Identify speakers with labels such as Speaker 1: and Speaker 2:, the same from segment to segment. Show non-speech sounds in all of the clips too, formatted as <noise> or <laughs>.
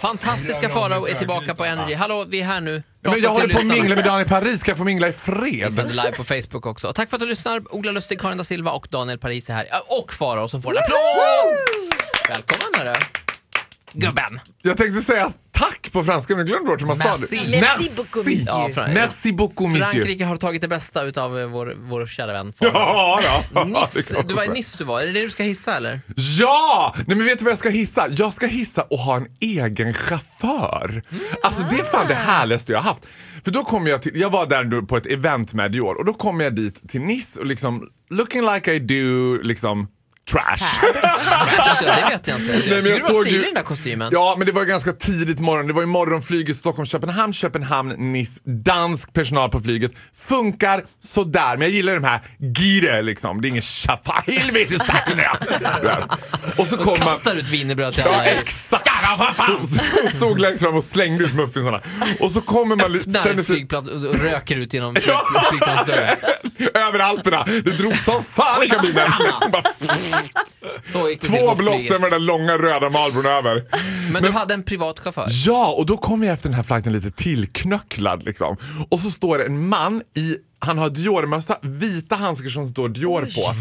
Speaker 1: Fantastiska Farao är tillbaka på Energy. Hallå, vi är här nu.
Speaker 2: Nej, men jag
Speaker 1: Prata
Speaker 2: håller
Speaker 1: till
Speaker 2: på att
Speaker 1: lyssnarna.
Speaker 2: mingla med Dan i Paris. Ska jag få mingla i
Speaker 1: Vi sänder
Speaker 2: fred?
Speaker 1: live på Facebook också. Och tack för att du lyssnar. Ola Lustig, Karin da Silva och Daniel Paris är här. Ja, Och Farao som får en applåd! Välkommen hörru. Gubben.
Speaker 2: Jag tänkte säga tack på franska, men jag glömde bort hur man sa det.
Speaker 1: Merci.
Speaker 3: Merci beaucoup, monsieur.
Speaker 1: Ja, Fra-
Speaker 2: Merci beaucoup, monsieur.
Speaker 1: Frankrike har tagit det bästa utav eh, vår, vår kära vän Farao.
Speaker 2: Ja, då. Det
Speaker 1: Nice.
Speaker 2: kan man
Speaker 1: Du var i
Speaker 2: säga.
Speaker 1: Nice du var. Är det det du ska hissa
Speaker 2: <laughs>
Speaker 1: eller?
Speaker 2: Ja! Nej men vet du vad jag ska hissa? Jag ska hissa och ha en egen chaufför.
Speaker 1: Mm.
Speaker 2: Alltså det är fan
Speaker 1: Ah.
Speaker 2: det härligaste jag har haft. För då kom jag till, jag var där då på ett event med Dior och då kom jag dit till Nice och liksom looking like I do, liksom trash.
Speaker 1: Alltså, det vet jag inte. Jag tycker du var stilig i den där kostymen.
Speaker 2: Ja, men det var ganska tidigt morgon. Det var ju morgonflyget Stockholm-Köpenhamn, Köpenhamn-Nice. Dansk personal på flyget. Funkar sådär, men jag gillar de här gire liksom. Det är ingen tjaffa. Helvete saknar jag! Och så kom man...
Speaker 1: Kastar ut wienerbröd till
Speaker 2: Ja,
Speaker 1: alla.
Speaker 2: exakt! Hon stod längst fram och slängde ut muffinsarna. Och så kommer man lite...
Speaker 1: Där
Speaker 2: känner
Speaker 1: en
Speaker 2: sig-
Speaker 1: flygplan och och röker ut genom flyg-
Speaker 2: <laughs>
Speaker 1: flygplansdörren.
Speaker 2: Över Alperna. Det drog som fan i kabinen. Bara
Speaker 1: Så gick det till
Speaker 2: Två
Speaker 1: på
Speaker 2: blås,
Speaker 1: flyget.
Speaker 2: sen var den där långa röda Marlboron över.
Speaker 1: Men du hade en privat chaufför.
Speaker 2: Ja, och då kom jag efter den här flighten lite tillknöcklad liksom. Och så står det en man i, han har Dior-mössa, vita handskar som står Dior på.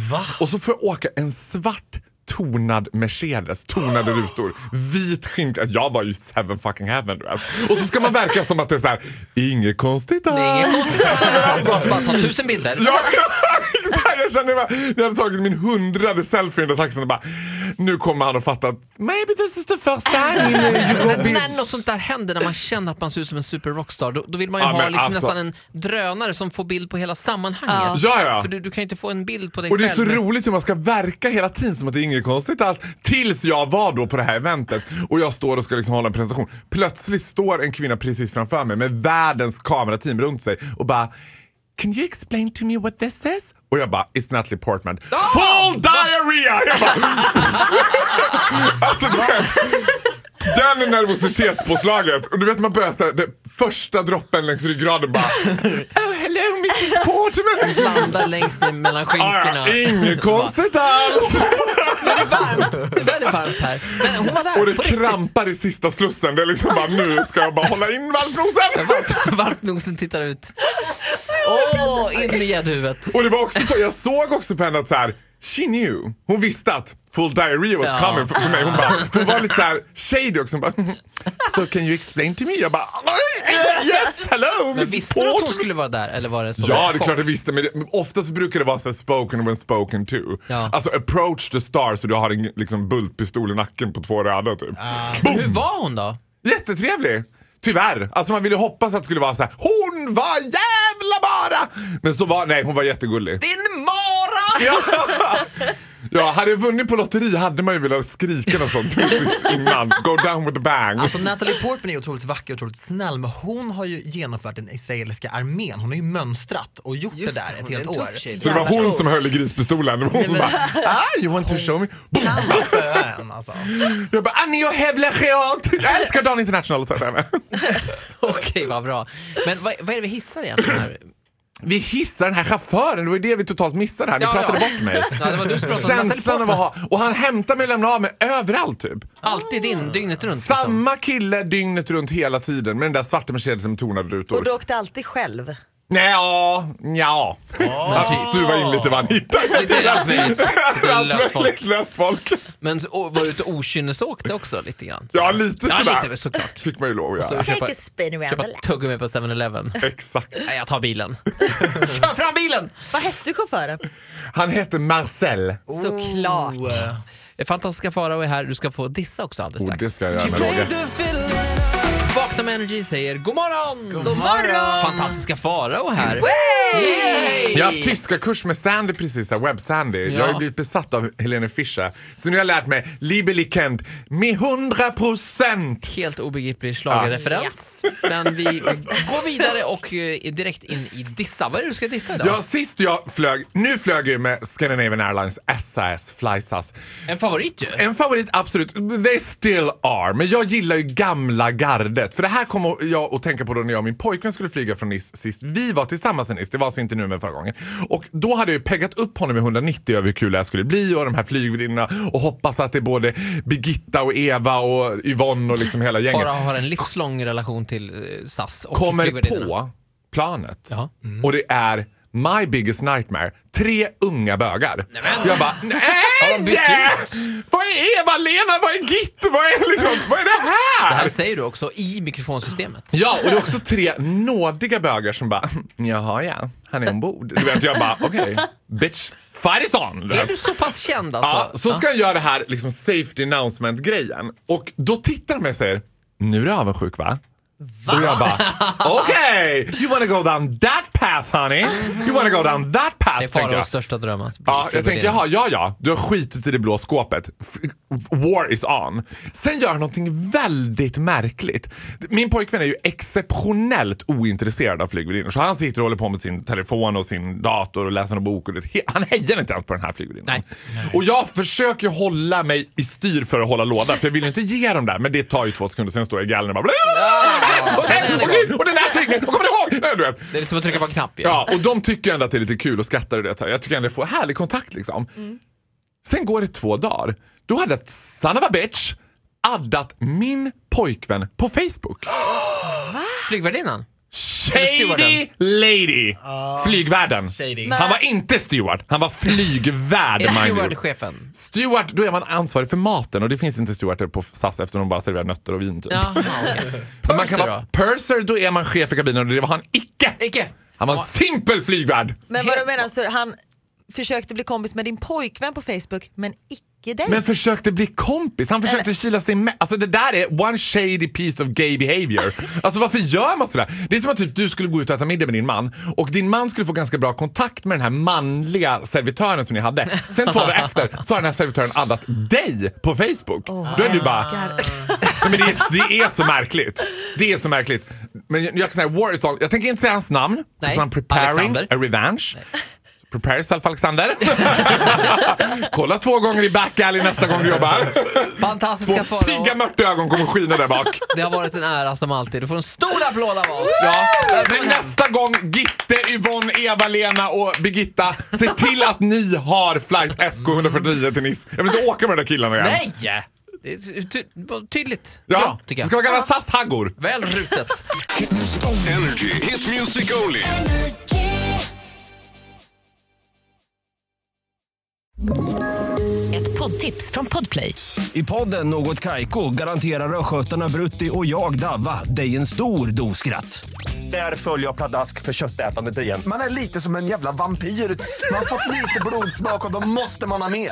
Speaker 2: Och så får jag åka en svart tonad Mercedes, tonade rutor, vit skinka. Jag var ju seven fucking heaven du vet. Och så ska man verka som att det är så här, inget konstigt
Speaker 1: Det är
Speaker 2: alls.
Speaker 1: inget konstigt. Bara ta tusen bilder.
Speaker 2: Ja, <laughs> exakt. jag kände bara, när jag hade tagit min hundrade selfie i den där taxin och bara, nu kommer han att fatta att maybe this is the first time you go
Speaker 1: Men
Speaker 2: big.
Speaker 1: när något sånt där händer, när man känner att man ser ut som en super rockstar, då, då vill man ju
Speaker 2: Ja,
Speaker 1: ha
Speaker 2: men
Speaker 1: liksom
Speaker 2: alltså-
Speaker 1: nästan en drönare som får bild på hela sammanhanget.
Speaker 2: Ja, ja.
Speaker 1: För du, du kan ju inte få en bild på dig
Speaker 2: Och det är så
Speaker 1: själv.
Speaker 2: roligt hur man ska verka hela tiden som att det är inget konstigt alls. Tills jag var då på det här eventet och jag står och ska liksom hålla en presentation. Plötsligt står en kvinna precis framför mig med världens kamerateam runt sig och bara Can you explain to me what this is? Och jag bara, it's Natalie Portman. Full diarrhea! Jag bara, <laughs> alltså, du vet, den är nervositetspåslaget. Och du vet man börjar såhär, den första droppen längs ryggraden bara Oh hello Mrs Portman!
Speaker 1: Landar längst ner mellan skinkorna.
Speaker 2: Ah,
Speaker 1: <laughs>
Speaker 2: ja, inget konstigt alls!
Speaker 1: Men det är varmt. Det är väldigt varmt här. Men hon var där
Speaker 2: <laughs> Och det
Speaker 1: på riktigt.
Speaker 2: krampar i sista slussen. Det är liksom bara nu ska jag bara hålla in vallprosen.
Speaker 1: Varmt, <laughs> varmt nosen tittar ut. Åh, in med gäddhuvudet.
Speaker 2: Och det var också på, jag såg också på henne att så här, she knew. Hon visste att full diarrhea was
Speaker 1: Ja.
Speaker 2: coming för, för mig. Hon bara, hon var lite så här shady också. Hon bara, "Mm, so can you explain to me? Jag bara, "Eh, yes, hello,
Speaker 1: Men
Speaker 2: Miss
Speaker 1: visste du att hon
Speaker 2: Portman."
Speaker 1: skulle vara där eller var det så?
Speaker 2: Ja, det är klart jag visste. Men det- men oftast brukar det vara så här spoken when spoken to.
Speaker 1: Ja.
Speaker 2: Alltså approach the star så du har en liksom, bultpistol i nacken på två röda typ. Boom!
Speaker 1: Hur var hon då?
Speaker 2: Jättetrevlig! Tyvärr. Alltså man ville hoppas att det skulle vara så här. hon var jävla bara! Men så var, nej hon
Speaker 1: <laughs>
Speaker 2: var jättegullig.
Speaker 1: Din mara!
Speaker 2: Ja. ja, hade jag vunnit på lotteri hade man ju velat skrika något sånt precis innan. Go down with a bang.
Speaker 3: Alltså Natalie Portman är otroligt vacker och otroligt snäll men hon har ju genomfört den israeliska armén. Hon har ju mönstrat och gjort det där ett helt år.
Speaker 2: Så det var hon som höll i grispistolen. Det var hon som bara, ah, you want to show me? Boom.
Speaker 3: Kan spöa en alltså.
Speaker 2: Jag bara, "Ah, Annie och Hevle Jag älskar Dan International, sa jag till henne.
Speaker 1: <laughs> Okej, vad bra. Men vad, vad är det vi hissar egentligen här?
Speaker 2: Vi hissar den här chauffören, det var ju det vi totalt missade här. Ni
Speaker 1: Ja,
Speaker 2: pratade
Speaker 1: ja.
Speaker 2: bort mig.
Speaker 1: Ja, det var du som pratade om Natalie
Speaker 2: Känslan av
Speaker 1: Portman.
Speaker 2: att ha, och han hämtar mig och lämnar av mig överallt typ.
Speaker 1: Alltid din, dygnet runt. Liksom.
Speaker 2: Samma kille dygnet runt hela tiden med den där svarta Mercedesen med tonade rutor.
Speaker 4: Och du åkte alltid själv.
Speaker 2: Nej, ja, ja. Han stuvar in lite vad han hittar.
Speaker 1: Lite löst mys, lite
Speaker 2: Allt
Speaker 1: löst
Speaker 2: möjligt
Speaker 1: folk.
Speaker 2: löst folk.
Speaker 1: Men så, och, var du ute och okynnesåkte också lite grann?
Speaker 2: Ja, lite
Speaker 1: Ja,
Speaker 2: sådär.
Speaker 1: lite, såklart. Alltså-
Speaker 2: Fick man ju lov att göra.
Speaker 1: Köpa-
Speaker 4: Take a spin around
Speaker 1: Köpa
Speaker 4: the lap.
Speaker 1: tuggummi på 7-Eleven.
Speaker 2: Exakt.
Speaker 1: Nej, jag tar bilen. <laughs> Kör fram bilen!
Speaker 4: Vad hette chauffören?
Speaker 2: Han heter Marcel.
Speaker 4: Såklart.
Speaker 3: Oh.
Speaker 1: Fantastiska Farao är här. Du ska få dissa också alldeles
Speaker 2: Och
Speaker 1: strax.
Speaker 2: Oh, det ska jag göra med råge.
Speaker 1: Vakna med Energy säger god morgon! God
Speaker 4: morgon!
Speaker 1: Fantastiska Farao här. Yay!
Speaker 2: Jag har haft tyska kurs med Sandy precis, här, Web Sandy. Jag har ju
Speaker 1: Ja.
Speaker 2: blivit besatt av Helene Fischer. Så nu har jag lärt mig Liebelikend med 100 procent.
Speaker 1: Helt obegriplig schlagerreferens. Men <laughs> vi går vidare och eh, direkt in i dissa. Vad är det du ska dissa idag?
Speaker 2: Ja, sist jag flög, nu flög jag ju med Scandinavian Airlines SAS Flysas.
Speaker 1: En favorit ju.
Speaker 2: En favorit absolut, they still are, men jag gillar ju gamla gardet. För det här kom jag att tänka på då när jag och min pojkvän skulle flyga från Nice sist. Vi var tillsammans i Nice, det var alltså inte nu men förra gången. Och då hade jag ju peggat upp honom i 190 över hur kul det här skulle bli och de här flygvärdinnorna och hoppas att det är både Birgitta och Eva och Yvonne och liksom hela gänget
Speaker 1: Farao har en livslång relation till eh, SAS och
Speaker 2: kommer
Speaker 1: flygvärdinnorna.
Speaker 2: på planet
Speaker 1: Ja. Mm.
Speaker 2: och det är My biggest nightmare, tre unga bögar.
Speaker 1: <laughs>
Speaker 2: Jag bara, nej!
Speaker 1: de bytt
Speaker 2: Vad är Eva-Lena? Vad är Gitt? Vad är, liksom, vad är det här?
Speaker 1: Det här säger du också i mikrofonsystemet.
Speaker 2: Ja, och det är också tre nådiga bögar som bara, jaha ja, han är ombord. Du vet, jag bara, okej, bitch, fight is on!
Speaker 1: Är du så pass känd
Speaker 2: Ja,
Speaker 1: alltså?
Speaker 2: så ska jag göra det här liksom safety announcement-grejen. Och då tittar de mig och säger, nu är du avundsjuk va? Och
Speaker 1: <laughs>
Speaker 2: jag bara, okej! you wanna go down that path honey? You wanna go down that path?
Speaker 1: Det är
Speaker 2: tänker jag.
Speaker 1: Faraos största dröm att bli
Speaker 2: Ja, jag tänker,
Speaker 1: flygvärdinna.
Speaker 2: jaha, ja, ja, du har skitit i det blå skåpet. F- War is on. Sen gör han någonting väldigt märkligt. Min pojkvän är ju exceptionellt ointresserad av flygvärdinnor. Så han sitter och håller på med sin telefon och sin dator och läser en bok. Och det, he- han hejar inte ens på den här flygvärdinnan.
Speaker 1: Nej.
Speaker 2: Och jag försöker hålla mig i styr för att hålla låda. För jag vill ju inte ge dem där. Men det tar ju två sekunder, sen står jag i galgen och bara... <laughs> Och,
Speaker 1: sen är
Speaker 2: sen,
Speaker 1: han
Speaker 2: och,
Speaker 1: igång.
Speaker 2: gud, och den här flygningen, och kommer du ihåg? Du vet.
Speaker 1: Det är liksom att trycka på en knapp ju.
Speaker 2: Ja, och de tycker ändå att det är lite kul och skrattar och det. Så här. Jag tycker ändå att jag får härlig kontakt liksom.
Speaker 1: Mm.
Speaker 2: Sen går det två dagar. Då hade ett son of a bitch addat min pojkvän på Facebook.
Speaker 1: Flygvärdinnan?
Speaker 2: Shady
Speaker 1: stewarden.
Speaker 2: lady! Flygvärden.
Speaker 3: Shady.
Speaker 2: Han var inte steward, han
Speaker 1: <laughs>
Speaker 2: var flygvärd.
Speaker 1: Är
Speaker 2: mind you.
Speaker 1: stewardchefen?
Speaker 2: Steward, då är man ansvarig för maten och det finns inte stewarder på SAS eftersom de bara serverar nötter och vin typ.
Speaker 1: Jaha, okej.
Speaker 2: Men man
Speaker 1: Purser
Speaker 2: kan vara
Speaker 1: då?
Speaker 2: purser, då är man chef i kabinen och det var han icke!
Speaker 1: Icke.
Speaker 2: Han var en simpel flygvärd!
Speaker 4: Men vad du menar, så han försökte bli kompis med din pojkvän på Facebook men icke dig?
Speaker 2: Men försökte bli kompis. Han försökte kila sig med. Alltså det där är one shady piece of gay behavior. Alltså varför gör man sådär? Det är som att typ, du skulle gå ut och äta middag med din man och din man skulle få ganska bra kontakt med den här manliga servitören som ni hade. Sen två dagar efter så har den här servitören addat dig på Facebook. Då är du bara,
Speaker 4: Älskar.
Speaker 2: Nej, men det, är, det är så märkligt. Det är så märkligt. Men jag, jag kan säga Warison, jag tänker inte säga hans namn.
Speaker 1: Nej.
Speaker 2: Nej. Han preparing
Speaker 1: Alexander.
Speaker 2: a revenge. Prepare yourself Alexander. <laughs> Kolla två gånger i back alley nästa gång du jobbar.
Speaker 1: Fantastiska
Speaker 2: Två pigga
Speaker 1: Farao.
Speaker 2: mörtögon kommer skina där bak.
Speaker 1: Det har varit en ära som alltid. Du får en stor applåd av oss.
Speaker 2: Ja.
Speaker 1: Välkommen
Speaker 2: Men
Speaker 1: hem.
Speaker 2: nästa gång, Gitte, Yvonne, Eva-Lena och Birgitta, se till att ni har flight SK149 till Nice. Jag vill inte åka med de där killarna igen.
Speaker 1: Nej! Det är ty- var tydligt.
Speaker 2: Ja.
Speaker 1: Bra, tycker
Speaker 2: Ska
Speaker 1: jag.
Speaker 2: man kalla SAS-haggor?
Speaker 1: Väl rutet.
Speaker 5: Energy. Hit music only.
Speaker 6: <laughs> Ett poddtips från Podplay.
Speaker 7: I podden Något Kaiko garanterar östgötarna Brutti och jag, Davva, dig en stor dos skratt. Där följer jag pladask för köttätandet igen.
Speaker 8: Man är lite som en jävla vampyr. Man har fått lite blodsmak och då måste man ha mer.